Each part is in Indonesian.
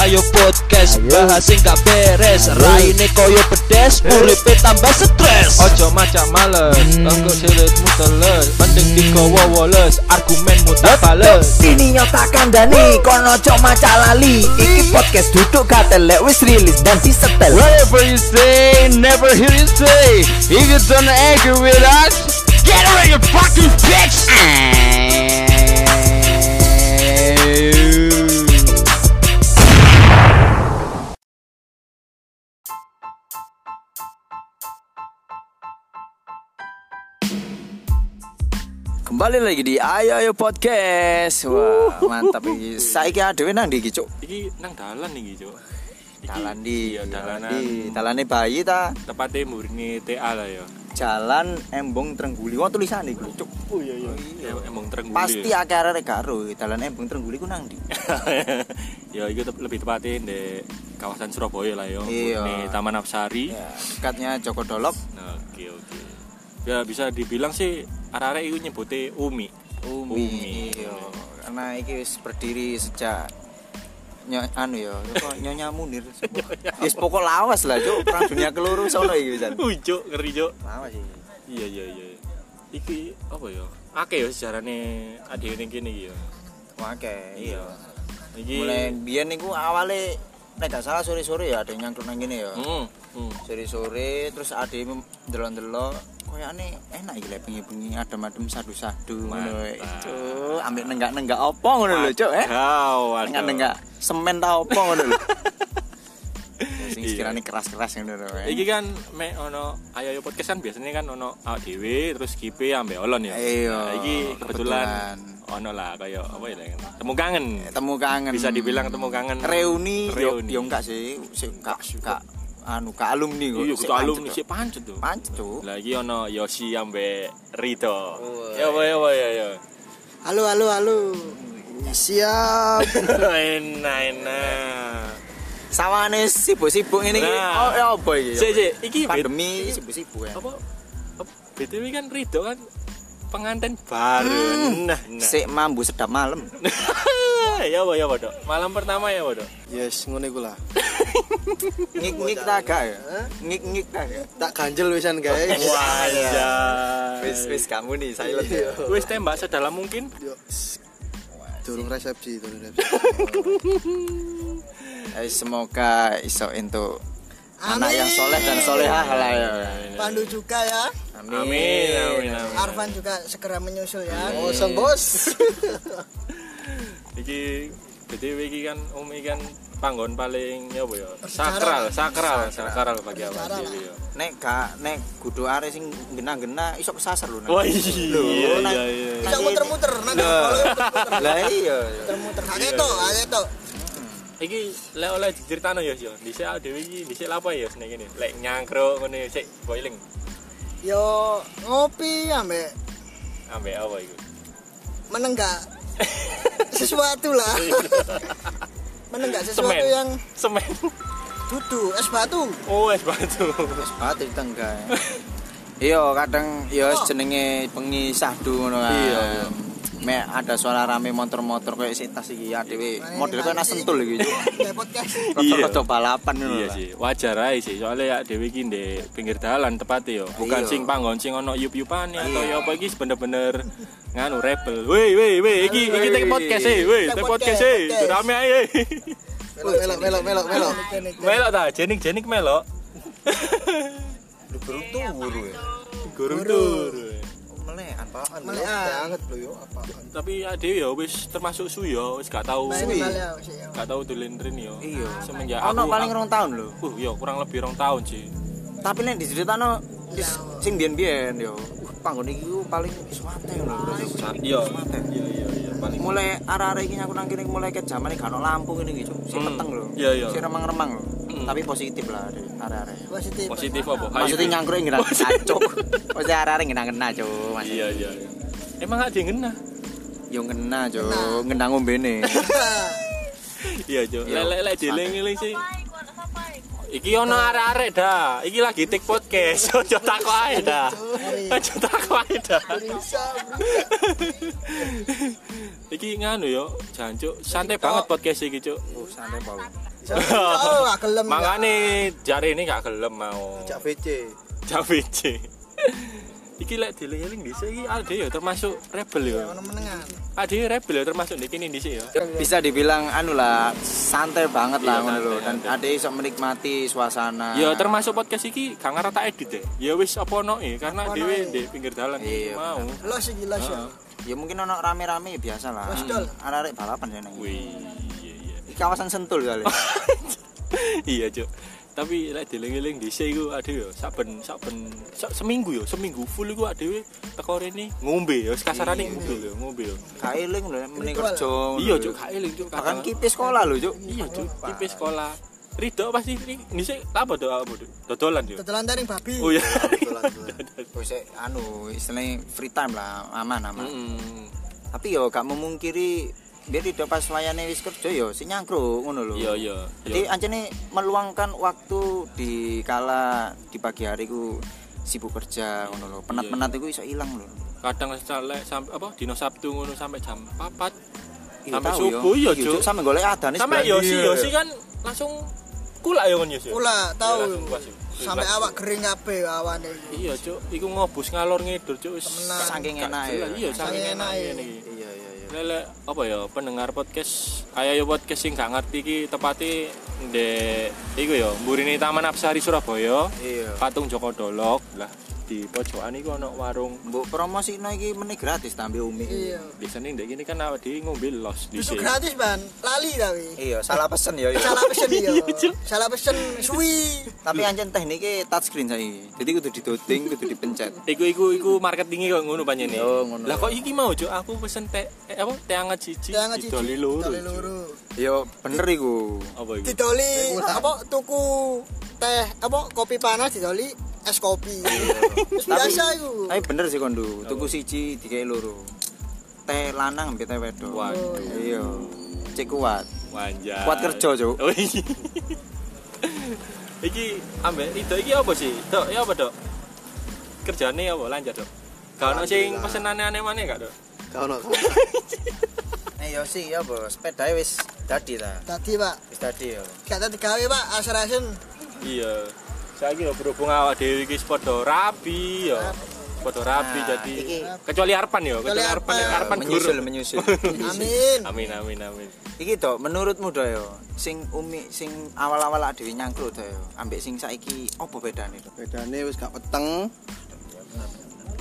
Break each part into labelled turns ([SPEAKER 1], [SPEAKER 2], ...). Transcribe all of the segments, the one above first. [SPEAKER 1] Ayo podcast bahas sing gak beres Raine koyo pedes Uripe tambah stres
[SPEAKER 2] Ojo macam males
[SPEAKER 1] Hmm.
[SPEAKER 2] Tengkuk silitmu teles Mending digawa woles Argumenmu tak bales
[SPEAKER 3] Sini nyota kandani Kono cok maca lali Iki podcast duduk katelek Wis rilis dan si setel
[SPEAKER 2] Whatever you say, never hear you say If you don't agree with us Get away you fucking bitch
[SPEAKER 3] Kembali lagi di Ayo Ayo Podcast Wah mantap ini Saiki adewe nang di cok
[SPEAKER 4] Iki nang dalan iki, Cuk. Iki-
[SPEAKER 3] Dalan di
[SPEAKER 4] iya,
[SPEAKER 3] dalan
[SPEAKER 4] dalanan.
[SPEAKER 3] di Dalane bayi ta
[SPEAKER 4] Tepatnya murni TA lah ya.
[SPEAKER 3] Jalan Embong Trengguli Wah tulisan iku cok
[SPEAKER 4] Oh iya iya. Emang tereng
[SPEAKER 3] Pasti ya. akhirnya karo Dalan Embong Trengguli ku nang di
[SPEAKER 4] ya itu tep- lebih tepatnya di kawasan Surabaya lah ya.
[SPEAKER 3] Iya.
[SPEAKER 4] Murni Taman Apsari.
[SPEAKER 3] Ya, Dekatnya Joko Dolok
[SPEAKER 4] Nah, oke oke. Ya bisa dibilang sih arah-arah itu nyebutnya Umi. Umi.
[SPEAKER 3] Iya Karena iki wis berdiri sejak Nyo, anu ya, apa, nyonya Munir. Wis pokok lawas lah, Cuk. Perang dunia keluru sono iki pisan.
[SPEAKER 4] Wih, Cuk, ngeri Cuk.
[SPEAKER 3] Lawas iki.
[SPEAKER 4] Iya iya iya. Iki apa ya? Akeh ya sejarahnya adik ini gini ya.
[SPEAKER 3] Oke, iya.
[SPEAKER 4] Iki
[SPEAKER 3] Mulai biyen niku awale nek gak salah sore-sore ya ada yang nyangkut nang kene ya.
[SPEAKER 4] Hmm. hmm.
[SPEAKER 3] Sore-sore terus ade ndelok-ndelok koyane enak iki lek bengi-bengi adem-adem sadu-sadu ngono.
[SPEAKER 4] Mantap.
[SPEAKER 3] Cuk, ambek nenggak-nenggak apa ngono lho, Cuk, eh.
[SPEAKER 4] Kau ada.
[SPEAKER 3] Nenggak-nenggak semen ta apa ngono lho. Ya, Sing
[SPEAKER 4] Iya.
[SPEAKER 3] sekiranya keras-keras ngono lho. eh.
[SPEAKER 4] Iki kan me ono ayo ayo podcast kan biasanya kan ono awak dhewe terus kipe ambek olon ya.
[SPEAKER 3] Iya,
[SPEAKER 4] Nah, iki
[SPEAKER 3] kebetulan.
[SPEAKER 4] kebetulan,
[SPEAKER 3] Eh,
[SPEAKER 4] ono lah kayak apa ya lah, temu kangen.
[SPEAKER 3] temu kangen
[SPEAKER 4] Bisa dibilang temu kangen.
[SPEAKER 3] reuni yo
[SPEAKER 4] Reuni.
[SPEAKER 3] yo enggak sih sih enggak enggak anu ke alumni kok
[SPEAKER 4] Iya,
[SPEAKER 3] Sik
[SPEAKER 4] kudu alumni
[SPEAKER 3] pancet,
[SPEAKER 4] sik pancet tuh.
[SPEAKER 3] Cuk. pancet Cuk.
[SPEAKER 4] Lagi ono Yosi ambek Rito.
[SPEAKER 3] Woy.
[SPEAKER 4] Ya ya ya ya.
[SPEAKER 3] halo halo halo siap
[SPEAKER 4] Enak enak.
[SPEAKER 3] sawane sibuk-sibuk ngene iki
[SPEAKER 4] Nah.
[SPEAKER 3] oh ya apa iki
[SPEAKER 4] Sik sik, iki bet-
[SPEAKER 3] pandemi
[SPEAKER 4] iki-
[SPEAKER 3] sibuk-sibuk ya
[SPEAKER 4] apa? apa- BTW kan Rito kan pengantin baru.
[SPEAKER 3] Hmm.
[SPEAKER 4] Nah, nah.
[SPEAKER 3] sik mambu sedap malam
[SPEAKER 4] ya apa ya apa, Dok? Malam pertama ya apa, Dok?
[SPEAKER 5] Yes, ngono iku lah.
[SPEAKER 3] ngik-ngik ta gak ya ngik-ngik ta ya
[SPEAKER 5] Tak ganjel wisan guys.
[SPEAKER 4] Eh,
[SPEAKER 3] wis
[SPEAKER 4] Wajah.
[SPEAKER 3] wis kamu nih
[SPEAKER 4] Iya.
[SPEAKER 3] silent ya
[SPEAKER 4] Wis tembak sedalam mungkin.
[SPEAKER 5] Yo. Durung resepsi, durung resepsi.
[SPEAKER 3] Eh, semoga iso entuk anak yang soleh dan solehah lah ya
[SPEAKER 6] Pandu juga ya.
[SPEAKER 4] Amin, amin, amin.
[SPEAKER 6] Arvan juga segera menyusul ya.
[SPEAKER 5] Ngosong, Oh, Bos.
[SPEAKER 4] Iki BTW iki kan Om iki kan panggon paling ya apa ya? Sakral, sakral, sakral bagi awak dhewe ya.
[SPEAKER 3] nek gak nek kudu are sing gena-gena iso kesasar lho
[SPEAKER 4] Wah, Oh, iya
[SPEAKER 3] nang-
[SPEAKER 4] iya iya.
[SPEAKER 6] Bisa muter-muter nanti
[SPEAKER 5] Iya.
[SPEAKER 3] lah iya
[SPEAKER 6] muter-muter. Kak itu, kak itu.
[SPEAKER 4] Iki lek oleh diceritano ya, yo. Dhisik awak dhewe iki dhisik lapo ya seneng ngene. Lek nyangkruk ngene sik boiling.
[SPEAKER 6] Yo ngopi ambek
[SPEAKER 4] Ambek apa iku?
[SPEAKER 6] menenggak sesuatu lah. menenggak sesuatu
[SPEAKER 4] Semen.
[SPEAKER 6] yang
[SPEAKER 4] Semen.
[SPEAKER 6] duduk es batu.
[SPEAKER 4] Oh, es batu.
[SPEAKER 3] sepatu tengga iya kadang iya jenenge pengi sahdu ngono kan
[SPEAKER 4] Iya, iya.
[SPEAKER 3] Mek ada suara rame motor-motor kayak si tas iki ya dhewe
[SPEAKER 6] Nah,
[SPEAKER 3] model
[SPEAKER 6] ini
[SPEAKER 3] kayak nas
[SPEAKER 6] nanti.
[SPEAKER 3] sentul iki Cuk.
[SPEAKER 6] Kayak podcast.
[SPEAKER 3] rada-rada balapan ngono
[SPEAKER 4] Iya
[SPEAKER 3] lah.
[SPEAKER 4] sih, wajar aja sih. Soalnya ya Dewi iki di pinggir dalan tepatnya yo. Bukan
[SPEAKER 3] Iya.
[SPEAKER 4] sing panggon sing ono yup-yupan atau ya apa iki bener-bener nganu rebel. Woi, woi, woi, iki iki tek podcast e, woi,
[SPEAKER 6] Tek
[SPEAKER 4] tek
[SPEAKER 6] podcast,
[SPEAKER 4] podcast e.
[SPEAKER 6] podcast.
[SPEAKER 4] Rame ae.
[SPEAKER 5] Melok, melok, melok, melok.
[SPEAKER 4] Melok ta, jenik-jenik melok. Gurung tur.
[SPEAKER 3] melekan Pak.
[SPEAKER 6] Melekan.
[SPEAKER 5] Banget lho yo, apa?
[SPEAKER 6] Nah,
[SPEAKER 4] Tapi ya Dewi ya wis termasuk suyo, wis gak tau
[SPEAKER 6] Melekan, melekan, sih, ya.
[SPEAKER 4] gak tau dilendrin yo.
[SPEAKER 3] Iya.
[SPEAKER 4] Semenjak
[SPEAKER 3] ono
[SPEAKER 4] aku
[SPEAKER 3] paling rong tahun lho
[SPEAKER 4] Uh, yo kurang lebih rong tahun sih.
[SPEAKER 3] tapi nek diceritano is sing biyen-biyen yo Uh, panggon iki ku paling suwate lho
[SPEAKER 4] Iya.
[SPEAKER 3] Suwate.
[SPEAKER 4] Iya, iya, iya, paling
[SPEAKER 3] mulai arah-arah iki aku nang kene mulai ket jaman iki ono lampu ngene iki Cuk. si
[SPEAKER 4] Hmm.
[SPEAKER 3] peteng lho
[SPEAKER 4] Iya, iya.
[SPEAKER 3] si remang-remang lho
[SPEAKER 4] Hmm.
[SPEAKER 3] tapi positif lah Dek, arah-arah
[SPEAKER 6] Positif.
[SPEAKER 4] positif apa?
[SPEAKER 3] maksudnya
[SPEAKER 4] Ayo.
[SPEAKER 3] nyangkruk ngena kena cuk maksudnya arah-arah ngena kena cuk maksudnya
[SPEAKER 4] Iya, iya. iya. Emang gak diengena?
[SPEAKER 3] yo ngena cuk ngena ngombe nih
[SPEAKER 6] iya.
[SPEAKER 4] Iya, Jo.
[SPEAKER 3] Iya.
[SPEAKER 4] Lelek lek dieling-eling sih. Iki ono arek-arek dah. Iki lagi tik podcast. Ojo takok ae dah. Ojo takok ae dah. Iki nganu yo, jancuk. Santai banget podcast iki, Cuk.
[SPEAKER 3] santai bau
[SPEAKER 6] Oh, gak gelem. gak.
[SPEAKER 4] Makane jari ini gak gelem mau.
[SPEAKER 5] Cak VC.
[SPEAKER 4] JVC. iki lek dieling-eling dhisik iki ade ya termasuk rebel ya.
[SPEAKER 6] Iya, Ono menengan.
[SPEAKER 4] Ade rebel ya termasuk nek kene dhisik ya.
[SPEAKER 3] bisa dibilang anu lah santai banget lah
[SPEAKER 4] Iya,
[SPEAKER 3] ngono lho
[SPEAKER 4] santai,
[SPEAKER 3] dan ada iso menikmati suasana
[SPEAKER 4] Ya termasuk podcast iki gak ngarep tak edit ya. Ya wis apa noe karena
[SPEAKER 6] Apa
[SPEAKER 4] dhewe
[SPEAKER 6] noe.
[SPEAKER 4] di pinggir dalan
[SPEAKER 3] Iya,
[SPEAKER 4] iki mau.
[SPEAKER 6] Los iki los ya.
[SPEAKER 5] Ah.
[SPEAKER 3] ya mungkin ono rame-rame ya biasa lah
[SPEAKER 6] Wes, Dol.
[SPEAKER 3] arek balapan ya nang
[SPEAKER 4] Wih. iya, iya.
[SPEAKER 3] Iki kawasan sentul kali
[SPEAKER 4] Iya, Cuk. Tapi lek dieling-eling dhisik iku ade ya saben saben sa- seminggu ya, seminggu full iku ade teko rene ngombe ya wis kasarane ngombe ya, ngombe ya.
[SPEAKER 3] gak eling lho mending kerja ngono
[SPEAKER 4] Iya,
[SPEAKER 3] lho.
[SPEAKER 4] Cuk, gak eling Cuk.
[SPEAKER 3] bahkan
[SPEAKER 4] kadang-
[SPEAKER 3] kipi sekolah lho cuk
[SPEAKER 4] Iya, Cuk, tipis sekolah. Ridho pasti ini dhisik apa doa apa, Cuk? Dodolan, Cuk.
[SPEAKER 6] Tetelan taring babi.
[SPEAKER 4] Oh iya.
[SPEAKER 5] Betulan, betulan.
[SPEAKER 3] wis anu istilahnya free time lah aman aman
[SPEAKER 4] Mm.
[SPEAKER 3] tapi yo gak memungkiri biar tidak pas layane wis kerja yo si nyangkruk ngono lho
[SPEAKER 4] Iya iya.
[SPEAKER 3] Jadi anjene meluangkan waktu di kala di pagi hari ku sibuk kerja ngono lho. Penat-penat iku iso ilang lho.
[SPEAKER 4] kadang sampai sampai apa dino Sabtu ngono sampai jam 4
[SPEAKER 3] Iya,
[SPEAKER 4] sampai
[SPEAKER 3] tahu
[SPEAKER 4] subuh
[SPEAKER 3] ya.
[SPEAKER 4] ya
[SPEAKER 3] Iya,
[SPEAKER 4] Cuk.
[SPEAKER 3] Cuk. Sampe golek adane
[SPEAKER 4] Sampai
[SPEAKER 3] sebelah.
[SPEAKER 4] Yosi
[SPEAKER 3] Iya.
[SPEAKER 4] Yosi kan langsung kula ya ngono Yosi.
[SPEAKER 6] Pula
[SPEAKER 4] Iya,
[SPEAKER 6] tahu.
[SPEAKER 4] langsung puas, Cuk.
[SPEAKER 6] Sampai
[SPEAKER 4] Langsung.
[SPEAKER 6] awak kering kabeh awane.
[SPEAKER 4] Iya Cuk, iku ngobus ngalor ngidul Cuk wis
[SPEAKER 6] Temenan.
[SPEAKER 3] Saking
[SPEAKER 4] gak
[SPEAKER 3] enak
[SPEAKER 4] jelas.
[SPEAKER 3] ya.
[SPEAKER 4] Iya, saking
[SPEAKER 6] Saking
[SPEAKER 4] enak
[SPEAKER 6] enak ya.
[SPEAKER 4] ngene iki.
[SPEAKER 3] Iya iya iya.
[SPEAKER 4] Lele apa ya pendengar podcast ayo ya podcast sing gak ngerti iki tepati ndek iku ya mburine Taman Apsari Surabaya.
[SPEAKER 3] Iya.
[SPEAKER 4] Patung Joko Dolok lah di pojokan iku ana warung
[SPEAKER 3] Mbok promosikno iki meneh gratis tambe umi.
[SPEAKER 6] Iya.
[SPEAKER 4] biasanya ndek gini kan awak dhewe ngombe los
[SPEAKER 6] Itu
[SPEAKER 4] dhisik.
[SPEAKER 6] gratis, Ban. Lali tapi.
[SPEAKER 3] Iya, salah pesen ya.
[SPEAKER 6] Salah pesen iya. Salah pesen suwi.
[SPEAKER 3] Tapi anjen teknike touchscreen saiki. Jadi kudu didoting, kudu dipencet.
[SPEAKER 4] Iku iku iku marketingnya kok ngono panjene.
[SPEAKER 3] Yo, ngono.
[SPEAKER 4] Lah kok iki mau Cuk, aku pesen teh eh, apa teh anget siji
[SPEAKER 6] Jangan cici.
[SPEAKER 4] didoli loro.
[SPEAKER 6] Didoli
[SPEAKER 4] Cuk.
[SPEAKER 6] loro.
[SPEAKER 3] Yo bener iku.
[SPEAKER 4] Apa iku?
[SPEAKER 6] Didoli apa tuku teh apa kopi panas didoli es kopi. Terus
[SPEAKER 3] Tapi-
[SPEAKER 6] Biasa iku.
[SPEAKER 3] Tapi bener sih kondu, tuku siji dikei loro. Teh lanang mbek teh wedok.
[SPEAKER 4] Waduh.
[SPEAKER 3] Iya. Cek kuat.
[SPEAKER 4] Wanjay.
[SPEAKER 3] Kuat kerja, Cuk.
[SPEAKER 4] Oh, iya. iki ambek itu iki apa sih? Dok, ya apa, Dok? Kerjane apa lancar, Dok? Gak ono sing
[SPEAKER 5] Alhamdulillah.
[SPEAKER 4] pesenane aneh-aneh gak, Dok?
[SPEAKER 5] Kau no.
[SPEAKER 3] Eh yo sih ya bos, sepeda wis dadi ta.
[SPEAKER 6] Tadi, Pak.
[SPEAKER 3] Wis dadi yo.
[SPEAKER 6] Kata digawe, Pak, asar-asen.
[SPEAKER 4] Iya. Saiki yo berhubung awak dhewe iki padha rapi yo. Padha rapi
[SPEAKER 3] Nah,
[SPEAKER 4] jadi
[SPEAKER 3] iki-
[SPEAKER 4] kecuali Arpan yo,
[SPEAKER 6] Kecuali
[SPEAKER 4] kecuali Arpan
[SPEAKER 6] Arpan.
[SPEAKER 4] Arpan guru.
[SPEAKER 3] Menyusul menyusul.
[SPEAKER 6] Amin.
[SPEAKER 4] Amin amin amin.
[SPEAKER 3] Iki to menurutmu do yo, sing umi sing awal-awal lak dhewe nyangkruk do yo, ambek sing saiki opo bedane to?
[SPEAKER 5] Bedane wis gak peteng.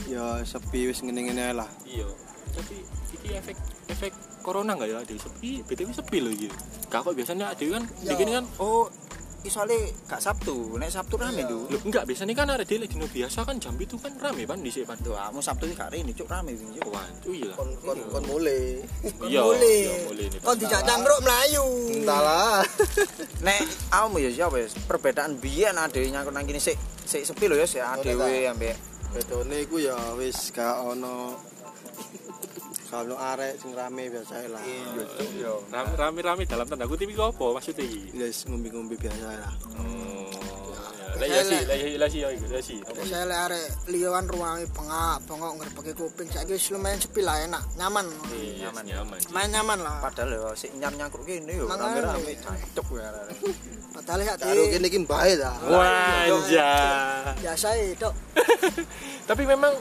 [SPEAKER 5] Ya sepi wis ngene-ngene ae lah.
[SPEAKER 4] Iya. Tapi iki efek efek corona enggak ya Dewi sepi? BTW sepi loh iki. Gak kok biasanya Dewi kan
[SPEAKER 6] Iya.
[SPEAKER 4] bikin kan
[SPEAKER 3] Oh, isole gak Sabtu, nek Sabtu rame
[SPEAKER 6] Iya.
[SPEAKER 3] lho.
[SPEAKER 4] Loh, enggak biasanya kan ada dile dino biasa kan jam itu kan rame pan di sini pan.
[SPEAKER 3] Lho, kamu Sabtu iki gak rene, cuk rame iki cuk.
[SPEAKER 4] Wan, oh iya lah.
[SPEAKER 5] Kon kon kon mulai.
[SPEAKER 4] Iya,
[SPEAKER 6] Boleh.
[SPEAKER 4] iya, boleh ini, Pak.
[SPEAKER 6] Kon dijak cangkruk Melayu.
[SPEAKER 5] Entahlah.
[SPEAKER 3] Nek awakmu yo siapa ya? Perbedaan biyen ade nyangkruk nang kene sik sik sepi lho yo, sik adewe ambek
[SPEAKER 5] Bedone iku ya wis gak ono Gak ono arek sing rame biasa ae lah.
[SPEAKER 3] Iya, cuk yo.
[SPEAKER 4] Ram- Rame-rame dalam tanda kutip iki apa maksudnya iki?
[SPEAKER 5] Ya wis ngombe-ngombe biasa ae lah.
[SPEAKER 4] Hmm. Lah iya sih, lah iya- lah sih ya iku, lah sih. Apa?
[SPEAKER 6] Saya lihat arek liwan ruangi pengak, pengok ngerpeki kuping. Saiki wis lumayan sepi lah enak, nyaman.
[SPEAKER 4] Iya, nyaman nyaman.
[SPEAKER 6] Main nyaman lah.
[SPEAKER 3] Padahal yo sik nyangkruk kene yo
[SPEAKER 6] Makanya.
[SPEAKER 3] rame-rame cocok ya. arek-arek.
[SPEAKER 6] Padahal ya
[SPEAKER 5] Karo kene iki mbae ta.
[SPEAKER 4] Wanjay.
[SPEAKER 6] biasa ya, itu.
[SPEAKER 5] Oh.
[SPEAKER 4] tapi memang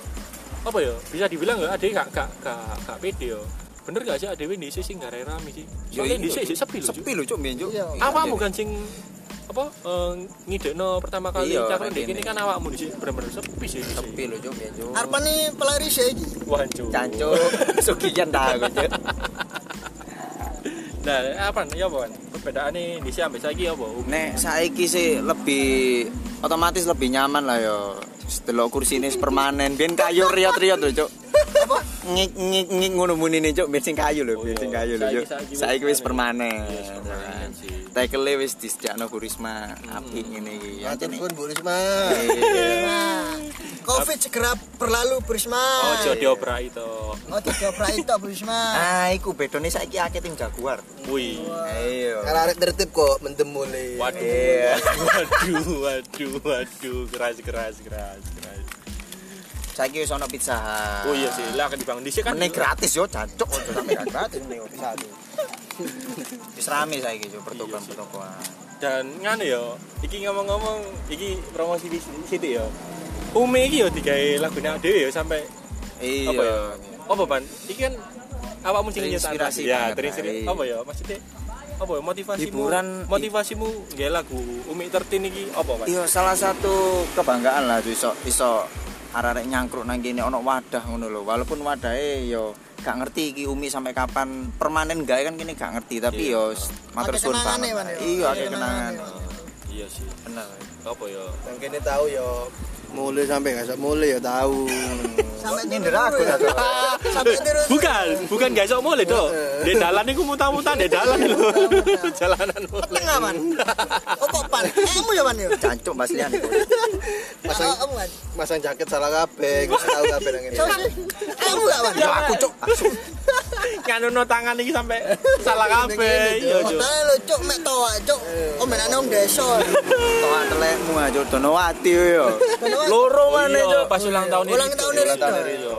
[SPEAKER 4] apa ya bisa dibilang nggak ada gak gak gak gak pede yo bener gak sih ada di sih nggak rame rame sih soalnya di sih sepi loh
[SPEAKER 3] Ya iya. Sepi lho cuk mbiyen cuk.
[SPEAKER 6] Iya.
[SPEAKER 4] awakmu kan sing apa eh, ngidekno pertama kali
[SPEAKER 3] Iya,
[SPEAKER 4] cakron
[SPEAKER 3] kayak
[SPEAKER 4] dek ini
[SPEAKER 3] gini.
[SPEAKER 4] kan awakmu di sini bener-bener sepi sih
[SPEAKER 3] Sepi lho cuk mbiyen cuk.
[SPEAKER 6] Arpan nih pelari sih iki.
[SPEAKER 4] wancur
[SPEAKER 3] Cancuk, sugiyan dah aku cuk.
[SPEAKER 4] nah apa ya apa kan perbedaan nih di sini saiki apa
[SPEAKER 3] Nek saiki sih lebih otomatis lebih nyaman lah yo. Delok kursi ini permanen, biyen kayu riot-riot lho, Cuk. Apa? Ngik ngik ngik ngono muni nih, Cuk, biyen sing kayu lho, biyen sing kayu lho, Cuk.
[SPEAKER 4] Saiki- saiki wis
[SPEAKER 3] Saiki wis
[SPEAKER 4] permanen.
[SPEAKER 3] permanen. Hmm.
[SPEAKER 4] Yes, permanen sih.
[SPEAKER 3] Tekele wis disediakno Bu Risma, apik ngene iki.
[SPEAKER 5] Matur
[SPEAKER 3] Anjene.
[SPEAKER 5] nuwun Ya, Bu Risma.
[SPEAKER 3] Nah,
[SPEAKER 6] Covid segera berlalu Burisma.
[SPEAKER 4] oh
[SPEAKER 3] iya.
[SPEAKER 4] jadi opera itu
[SPEAKER 6] Oh, tiga itu Burisma.
[SPEAKER 3] Ah, iku bedone saiki akeh tim Jaguar.
[SPEAKER 4] wih
[SPEAKER 3] Ayo.
[SPEAKER 5] Karo arek tertib kok mendem mulai.
[SPEAKER 4] waduh
[SPEAKER 3] Iya.
[SPEAKER 4] waduh waduh waduh keras keras keras keras
[SPEAKER 3] Saiki wis ana pizza. Hut.
[SPEAKER 4] oh iya sih lah akan dibangun di sini kan
[SPEAKER 3] Meneh Oh, gratis yo, jancuk. Ojo sampe gak gratis meneh satu. Wis rame saiki cuk pertokoan-pertokoan.
[SPEAKER 4] dan ngene ya iki ngomong-ngomong iki promosi di situ ya Umi iki ya digawe lagune dhewe ya sampai apa ya
[SPEAKER 3] Iya.
[SPEAKER 4] apa ban iki kan awakmu sing nyetak
[SPEAKER 3] Terinspirasi
[SPEAKER 4] ya
[SPEAKER 3] banget,
[SPEAKER 4] terinspirasi
[SPEAKER 3] Pak.
[SPEAKER 4] apa ya maksudnya apa ya motivasimu
[SPEAKER 3] Hiburan-
[SPEAKER 4] motivasimu gawe lagu Umi Tertin iki apa ban
[SPEAKER 3] Iya salah satu kebanggaan lah tuh iso iso arek nyangkruk nang kene ono wadah ngono lho. Walaupun wadahe yo gak ngerti iki Umi sampai kapan permanen gawe kan kene gak ngerti tapi yo matur
[SPEAKER 6] Ada
[SPEAKER 3] suwun
[SPEAKER 6] kenangane,
[SPEAKER 3] banget.
[SPEAKER 6] Man, ya.
[SPEAKER 3] Iya
[SPEAKER 6] Ada
[SPEAKER 3] ada kenangan.
[SPEAKER 6] kenangane,
[SPEAKER 4] iya sih
[SPEAKER 3] Bener.
[SPEAKER 4] apa ya
[SPEAKER 5] yang kini tahu ya mulai sampai nggak mulai ya tahu
[SPEAKER 6] Sampai
[SPEAKER 3] Nyindir aku,
[SPEAKER 6] ya.
[SPEAKER 3] Dato.
[SPEAKER 6] Sampai terus.
[SPEAKER 4] bukan bukan gak iso mulai dong di dalan iku muta-muta di dalan lho jalanan mulai
[SPEAKER 6] Peteng aman. Oh kok pan? Kamu ya pan ya.
[SPEAKER 3] Cancuk Mas Lian.
[SPEAKER 6] Masa kamu kan?
[SPEAKER 5] masang jaket salah kabeh nggak tahu kabeh yang ini
[SPEAKER 6] Cok sih. Kamu gak pan?
[SPEAKER 3] Ya aku cuk.
[SPEAKER 4] nganu tangan iki sampai salah kabeh iya Cuk.
[SPEAKER 6] Otaknya lo cok mek toa cok. Oh menane om desa.
[SPEAKER 3] Toan telekmu aja donowati yo. Loro maneh
[SPEAKER 4] Iya,
[SPEAKER 3] cuk.
[SPEAKER 4] pas ulang tahun
[SPEAKER 6] Ulang tahun ini
[SPEAKER 5] tahun
[SPEAKER 6] Rito.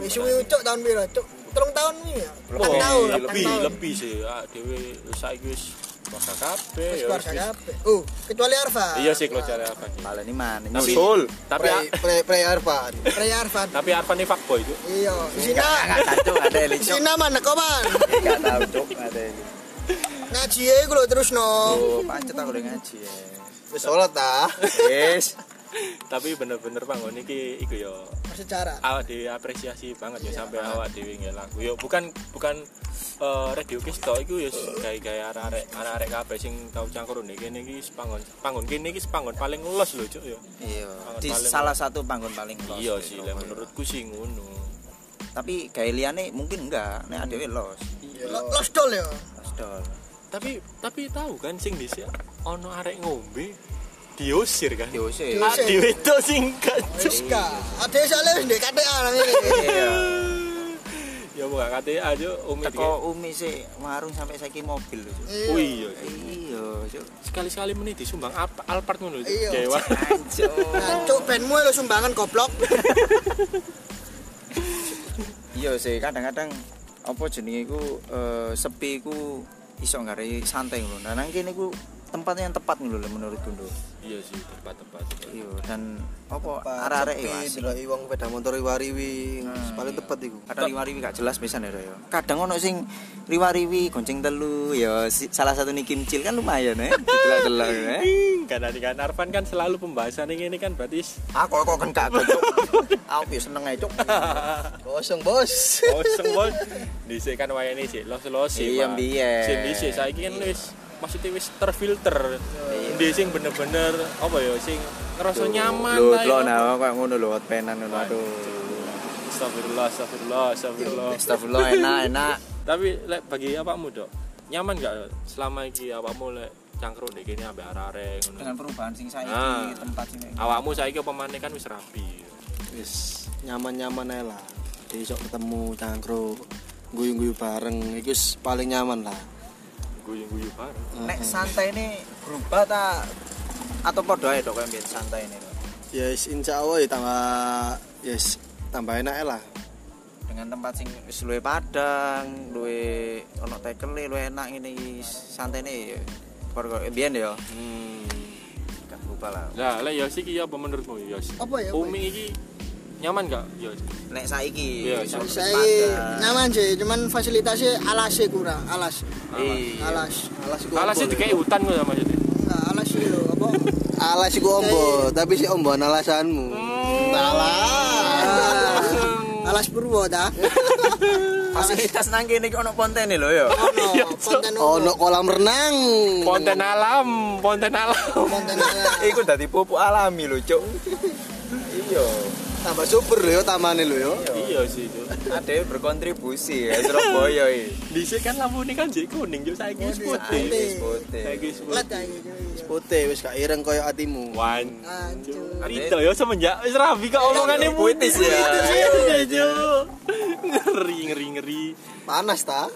[SPEAKER 6] Wis suwi cok tahun piro cok? Terung tahun ini ya. Kan tahun.
[SPEAKER 4] lebih, lebih,
[SPEAKER 6] tahun.
[SPEAKER 4] lebih sih. Ah, dewe saiki wis keluarga kabeh ya.
[SPEAKER 6] Keluarga kabeh. Oh, kecuali Arfa.
[SPEAKER 4] Iya sih keluarga Arfan.
[SPEAKER 3] Baleni maneh.
[SPEAKER 4] Tapi
[SPEAKER 3] nyusul.
[SPEAKER 4] tapi ya. Nah.
[SPEAKER 5] play play play Arfan
[SPEAKER 6] Rey Arfa.
[SPEAKER 4] tapi Arfan ini fuckboy itu.
[SPEAKER 6] Iya, Sina.
[SPEAKER 3] Enggak enggak cancuk ada Eli cuk.
[SPEAKER 6] Sina mana kok man?
[SPEAKER 3] Enggak tahu cuk ada Eli.
[SPEAKER 6] Ngaji ya iku lho terus no.
[SPEAKER 3] Oh, pancet aku udah ngaji ya.
[SPEAKER 5] Wis sholat ta
[SPEAKER 3] Wis.
[SPEAKER 4] Tapi bener-bener bangun iki iku ya
[SPEAKER 6] Bersejarah.
[SPEAKER 4] awak dhewe apresiasi banget ya sampai awak dhewe nggak lagu. Ya bukan bukan eh, radio kiss tok iku ya gaya-gaya arek-arek arek-arek kabeh sing tau cangkruk nih kene iki panggon panggon kene iki panggon paling ngelos lho Cuk ya.
[SPEAKER 3] Iya,
[SPEAKER 4] Panggon
[SPEAKER 3] di
[SPEAKER 4] paling-
[SPEAKER 3] salah satu panggon paling los.
[SPEAKER 4] Iya sih, lah
[SPEAKER 3] Iya.
[SPEAKER 4] menurutku sih ngono.
[SPEAKER 3] Tapi gawe liyane mungkin enggak, nek adewe los.
[SPEAKER 6] Lo- Los dol ya.
[SPEAKER 3] Los dol.
[SPEAKER 4] Tapi tapi tahu kan sing dhisik ono arek ngombe diusir kan.
[SPEAKER 3] Diusir.
[SPEAKER 6] Diusir.
[SPEAKER 4] Adi itu singkat.
[SPEAKER 6] Siska. Ada soalnya wis ndek KTA nang ini.
[SPEAKER 3] Iya.
[SPEAKER 4] Ya mau gak kate aja Umi tiga.
[SPEAKER 3] Teko Umi sih warung sampai saiki mobil lho. Cuk.
[SPEAKER 6] Iya.
[SPEAKER 4] Oh iya.
[SPEAKER 3] Iya, Cuk.
[SPEAKER 4] Sekali-sekali meni disumbang apa Alphard ngono lho.
[SPEAKER 6] Iya.
[SPEAKER 4] Dewa.
[SPEAKER 3] Ancuk.
[SPEAKER 6] Nah, cok bandmu lo sumbangan goblok.
[SPEAKER 3] Iya sih, kadang-kadang apa jenenge iku eh, sepi iku iso ngare santai ngono. Nah, nang kene iku tempat yang tepat ngono lho menurutku lho.
[SPEAKER 4] Iya sih tempat-tempat.
[SPEAKER 3] Iya, dan apa arek-arek
[SPEAKER 5] Iya,
[SPEAKER 3] ya. asik.
[SPEAKER 5] delok wong sepeda motor riwariwi paling tepat iku
[SPEAKER 3] kadang riwariwi gak jelas pisan ya Roy. kadang ono sing riwariwi gonceng telu ya si- salah satu niki kimcil kan lumayan eh, ya jelas jelas ya
[SPEAKER 4] Karena di kan Arfan kan selalu pembahasan yang ini kan berarti
[SPEAKER 3] aku Ah, kok kan gak cocok aku ya seneng aja cok
[SPEAKER 5] kosong bos
[SPEAKER 4] kosong bos. Dhisik kan wayane sih los-los sih.
[SPEAKER 3] Iya,
[SPEAKER 4] Pak.
[SPEAKER 3] biyen.
[SPEAKER 4] Sing dhisik saiki kan wis maksudnya wis terfilter. Ndi sing bener-bener apa ya sing ngerasa nyaman
[SPEAKER 3] lu
[SPEAKER 4] lah,
[SPEAKER 3] lo
[SPEAKER 4] ya.
[SPEAKER 3] nah kok ngono lo hot penan ngono aduh
[SPEAKER 4] Astagfirullah, astagfirullah, astagfirullah.
[SPEAKER 3] astagfirullah enak enak
[SPEAKER 4] Tapi lek bagi awakmu, Dok? Nyaman gak selama iki awakmu lek cangkruk nek kene ambek arek ngono.
[SPEAKER 3] perubahan sing saya
[SPEAKER 4] Ah.
[SPEAKER 3] tempat sing
[SPEAKER 4] Awakmu saiki apa maneh kan wis rapi.
[SPEAKER 5] wis nyaman-nyaman ae lah besok ketemu cangkruk guyu-guyu bareng itu paling nyaman lah
[SPEAKER 4] Guyu-guyu bareng.
[SPEAKER 3] nek santai ini berubah ta atau podo ae dok yang biasa santai ini Dok?
[SPEAKER 5] yes insya Allah ya tambah yes tambah enak ae lah
[SPEAKER 3] dengan tempat sing wis luwe padang, luwe ono tekele, luwe e, enak ngene iki santene pergo biyen ya.
[SPEAKER 4] Hmm.
[SPEAKER 3] Gak lupa lah.
[SPEAKER 4] Lah, lek Yos iki apa menurutmu, Yos?
[SPEAKER 6] Apa ya, apa
[SPEAKER 4] Umi iki nyaman gak, Ya Yos?
[SPEAKER 3] Nek saiki
[SPEAKER 4] Iya,
[SPEAKER 3] wis ono
[SPEAKER 6] Saya
[SPEAKER 3] padang.
[SPEAKER 6] nyaman sih, cuman fasilitasnya alasnya kurang, alas.
[SPEAKER 4] Iya.
[SPEAKER 6] Alas.
[SPEAKER 5] alas iku
[SPEAKER 4] Alas
[SPEAKER 6] ya?
[SPEAKER 4] sih dikai hutan kok sama jadi.
[SPEAKER 6] Enggak, alas sih lho, apa?
[SPEAKER 5] alas iku ombo tapi si omboan alasanmu Hmm.
[SPEAKER 6] Alas. Alas Purwo ta?
[SPEAKER 3] Fasilitas nang kene iki ono pontene lho ya.
[SPEAKER 6] Ono Iya, konten ono.
[SPEAKER 5] ono kolam renang
[SPEAKER 4] Konten alam, konten alam.
[SPEAKER 6] Konten ono.
[SPEAKER 3] Iku dadi pupuk alami lho, Cuk. Iya,
[SPEAKER 5] tambah super lho yo tamane lho yo
[SPEAKER 4] Iya sih, Cuk.
[SPEAKER 3] ade berkontribusi ya Surabaya iki.
[SPEAKER 4] Dhisik kan lampu ini kan jadi kuning, Cuk. Saiki wis putih.
[SPEAKER 3] Wis putih.
[SPEAKER 4] Saiki wis
[SPEAKER 6] Let
[SPEAKER 4] putih.
[SPEAKER 6] ae, cuy.
[SPEAKER 5] putih wis gak ireng koyo atimu
[SPEAKER 4] Wan.
[SPEAKER 6] Ah. Ancur.
[SPEAKER 4] Itu ya semenjak wis rabi kok omongannya
[SPEAKER 3] puitis ya.
[SPEAKER 4] Iya, Cuk. Ngeri, ngeri, ngeri.
[SPEAKER 5] panas ta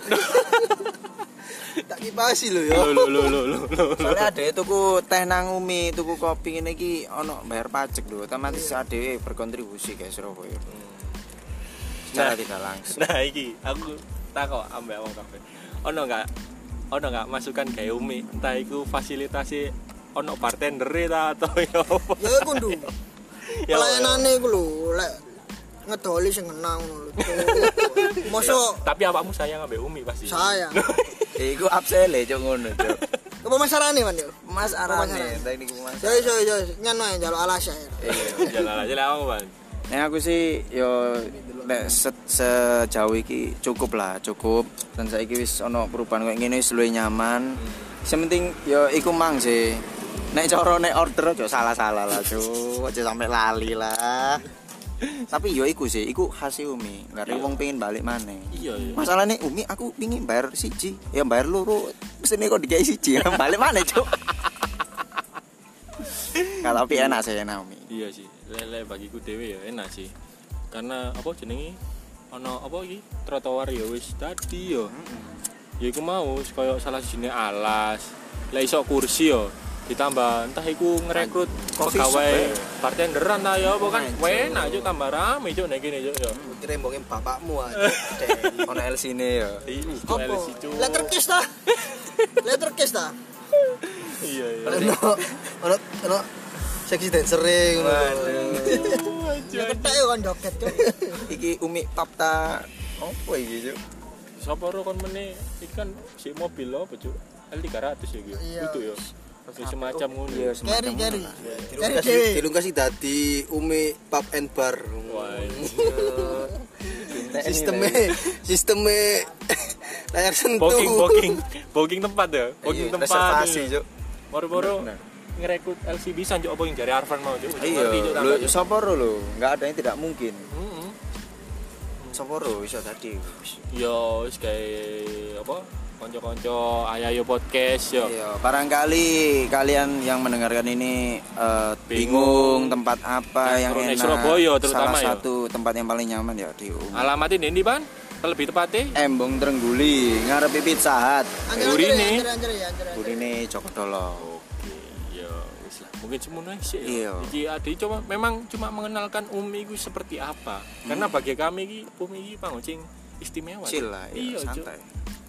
[SPEAKER 5] tak kipasi lho yo
[SPEAKER 4] Lo lo lo lo lo. lo.
[SPEAKER 3] Soalnya ade tuku teh nang umi, tuku kopi ngene iki ono bayar pajak lho, otomatis ade berkontribusi guys Surabaya. Secara tidak langsung.
[SPEAKER 4] Nah, iki aku takok ambek wong kabeh. ono nggak ono nggak masukan kayak umi entah itu fasilitasi ono bartender ta atau ya apa
[SPEAKER 6] ya iku ndu
[SPEAKER 4] Ya,
[SPEAKER 6] pelayanane iku lho lek ngedoli sing kena ngono lho mosok
[SPEAKER 4] tapi awakmu sayang ambek umi pasti
[SPEAKER 6] saya
[SPEAKER 3] Iku absele cuk ngono cuk.
[SPEAKER 6] apa masarane man yo
[SPEAKER 3] Mas
[SPEAKER 6] Arane.
[SPEAKER 3] arane teknik mas.
[SPEAKER 6] yo yo yo nyen wae njaluk alasan ya.
[SPEAKER 4] jalan aja lah awakmu, Bang.
[SPEAKER 3] Nah aku sih yo nek se- sejauh iki cukup lah, cukup. Dan saiki wis ono perubahan kayak gini wis luwih nyaman. Sementing yo iku mang sih. Nek cara nek order aja salah-salah lah, Cuk. Aja sampe lali lah. Tapi yo iku sih, iku khas Umi. Karena wong pengen balik maneh.
[SPEAKER 4] iya iya
[SPEAKER 3] Masalahnya Umi aku pingin bayar siji, ya bayar loro. Sini kok dikei siji, ya, balik mana cuk? Kalau tapi enak sih enak Umi.
[SPEAKER 4] iya sih lele bagiku dewe ya enak sih karena apa jenengi ono apa iki trotoar ya wis tadi yo ya iku mau koyo salah sijine alas lah iso kursi yo ditambah entah iku ngerekrut
[SPEAKER 6] Kan
[SPEAKER 3] Coffee
[SPEAKER 4] pegawai
[SPEAKER 3] shop,
[SPEAKER 4] bartenderan lah ya apa kan
[SPEAKER 3] Anjir.
[SPEAKER 4] enak juga tambah rame juga nek ya. gini juga yo
[SPEAKER 6] Mm,
[SPEAKER 5] Hmm. Kira mbongin bapakmu aja. Eh.
[SPEAKER 3] Ono LC ini ya.
[SPEAKER 4] itu
[SPEAKER 6] apa
[SPEAKER 4] LC cu.
[SPEAKER 6] letter kiss ta letter kiss ta
[SPEAKER 4] iya iya
[SPEAKER 5] Ono ono ono seksi dancer ngono.
[SPEAKER 6] ya ketek yo kan joget Cuk.
[SPEAKER 3] Iki Umi papta apa iki cuk?
[SPEAKER 4] sapa ro kon mene ikan si mobil lo apa cuk L300 ya gitu
[SPEAKER 6] Iya.
[SPEAKER 4] itu yo semacam ngono
[SPEAKER 3] Iya
[SPEAKER 6] Keri, keri. Keri
[SPEAKER 5] Kasih-
[SPEAKER 6] dhewe.
[SPEAKER 5] Dilung kasih dadi umi pub and bar.
[SPEAKER 4] Wah,
[SPEAKER 3] eh.
[SPEAKER 5] Sisteme sisteme layar sentuh.
[SPEAKER 4] booking booking booking tempat ya booking tempat
[SPEAKER 3] Iya, reservasi
[SPEAKER 4] iya.
[SPEAKER 3] cuk.
[SPEAKER 4] baru-baru
[SPEAKER 3] Bener,
[SPEAKER 4] ngerekrut LC bisa cuk apa yang dari Arvan mau cuk
[SPEAKER 3] Iya, lu soporo lo, nggak ada yang tidak mungkin.
[SPEAKER 4] Heeh.
[SPEAKER 3] Soporo iso tadi.
[SPEAKER 4] yo Iya, wis kayak apa konco-konco ayayo podcast yo
[SPEAKER 3] Iya, barangkali kalian yang mendengarkan ini eh, bingung,
[SPEAKER 4] Bingung.
[SPEAKER 3] tempat apa
[SPEAKER 4] Nah,
[SPEAKER 3] yang
[SPEAKER 4] turun di
[SPEAKER 3] enak.
[SPEAKER 4] Surabaya terutama
[SPEAKER 3] Salah
[SPEAKER 4] ya.
[SPEAKER 3] satu tempat yang paling nyaman ya di Umi.
[SPEAKER 4] alamatnya Dendi ban terlebih tepatnya
[SPEAKER 3] Embong Trengguli, ngarepi Pizza Hut.
[SPEAKER 6] Anjir,
[SPEAKER 4] Burine.
[SPEAKER 6] anjir, anjir, anjir, anjir.
[SPEAKER 3] Burine Joko Dolo.
[SPEAKER 4] Iya, wis lah. mungkin semuanya sih.
[SPEAKER 3] Iya.
[SPEAKER 4] ya. Iki ade cuma memang cuma mengenalkan Umi itu seperti apa. Karena bagi kami iki Umi iki pangucing istimewa.
[SPEAKER 3] Chill Hmm. lah, iya,
[SPEAKER 4] Cuk.
[SPEAKER 3] santai.